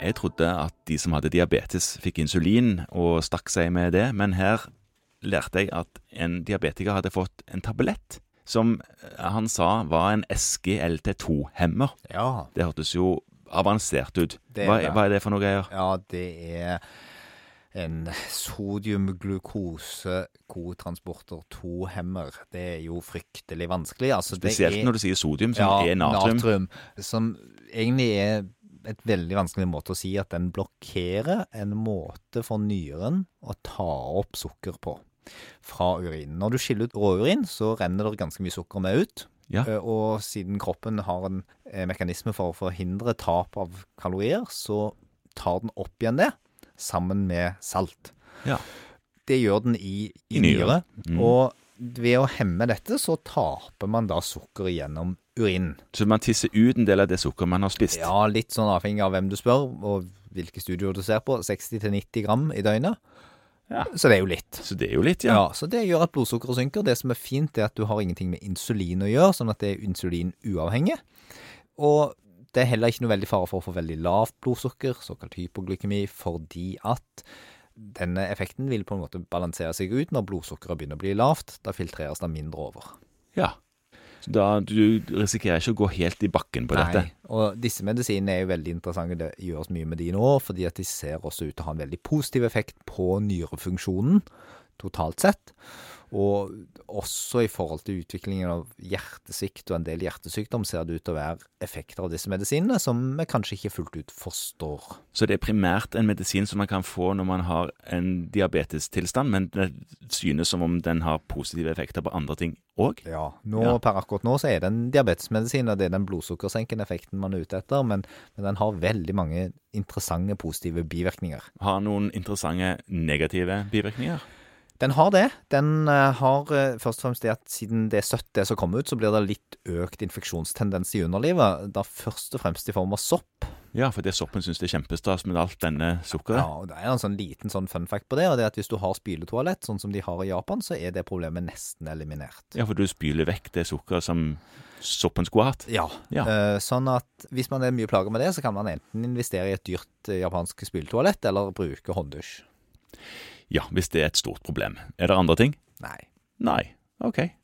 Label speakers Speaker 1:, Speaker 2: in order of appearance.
Speaker 1: Jeg trodde at de som hadde diabetes, fikk insulin og stakk seg med det, men her lærte jeg at en diabetiker hadde fått en tablett som eh, han sa var en SGLT2-hemmer.
Speaker 2: Ja,
Speaker 1: Det hørtes jo avansert ut.
Speaker 2: Det er
Speaker 1: Hva,
Speaker 2: det.
Speaker 1: hva er det for noe greier?
Speaker 2: ja det er en sodiumglukosekotransporter 2-hemmer. Det er jo fryktelig vanskelig. Altså, det
Speaker 1: Spesielt
Speaker 2: er-
Speaker 1: når du sier sodium, som er natrium.
Speaker 2: Som egentlig er et veldig vanskelig måte å si at den blokkerer en måte for nyren å ta opp sukker på fra urinen. Når du skiller ut råurin, så renner det ganske mye sukker med ut.
Speaker 1: Ja.
Speaker 2: Eh, Og siden kroppen har en eh, mekanisme for å forhindre tap av kalorier, så tar den opp igjen det sammen med salt.
Speaker 1: Ja.
Speaker 2: Det gjør den i, i,
Speaker 1: I
Speaker 2: nyre.
Speaker 1: nyre. Mm.
Speaker 2: Og ved å hemme dette, så taper man da sukker gjennom urinen.
Speaker 1: Så man tisser ut en del av det sukkeret man har spist.
Speaker 2: Ja, litt sånn avhengig av hvem du spør, og hvilke studioer du ser på. 60-90 gram i døgnet.
Speaker 1: Ja.
Speaker 2: Så det er jo litt.
Speaker 1: Så det er jo litt,
Speaker 2: Ja.
Speaker 1: ja.
Speaker 2: Så det gjør at blodsukkeret synker. Det som er fint, er at du har ingenting med insulin å gjøre, sånn at det er insulinuavhengig. Og det er heller ikke noe veldig fare for å få veldig lavt blodsukker, såkalt hypoglykemi, fordi at denne effekten vil på en måte balansere seg ut når blodsukkeret begynner å bli lavt. Da filtreres det mindre over.
Speaker 1: ja. Så da du risikerer ikke å gå helt i bakken på dette.
Speaker 2: Og disse medisinene er jo veldig interessante. Det gjøres mye med de nå, fordi at de ser også ut til å ha en veldig positiv effekt på nyrefunksjonen totalt sett. Og også i forhold til utviklingen av hjertesvikt og en del hjertesykdom ser det ut til å være effekter av disse medisinene som vi kanskje ikke fullt ut forstår.
Speaker 1: Så det er primært en medisin som man kan få når man har en diabetestilstand, men det synes som om den har positive effekter på andre ting òg.
Speaker 2: Ja, nå,
Speaker 1: Ja.
Speaker 2: Per akkurat nå så er det en diabetesmedisin, og det er den blodsukkersenkende effekten man er ute etter, men, men den har veldig mange interessante positive bivirkninger.
Speaker 1: Har noen interessante negative bivirkninger.
Speaker 2: Den har det. Den eh, har eh, først og fremst det at siden det er søtt det som kommer ut, så blir det litt økt infeksjonstendens i underlivet. Da først og fremst i form av sopp.
Speaker 1: Ja, for det soppen syns det er kjempestas med alt denne sukkeret.
Speaker 2: Ja, og Det er en sånn liten sånn fun fact på det, og det er at hvis du har spyletoalett, sånn som de har i Japan, så er det problemet nesten eliminert.
Speaker 1: Ja, for du spyler vekk det sukkeret som soppen skulle hatt.
Speaker 2: Ja.
Speaker 1: Ja.
Speaker 2: Eh, Sånn at hvis man er mye plaga med det, så kan man enten investere i et dyrt eh, japansk spyletoalett, eller bruke hånddusj.
Speaker 1: Ja, hvis det er et stort problem. Er det andre ting?
Speaker 2: Nei.
Speaker 1: Nei. OK.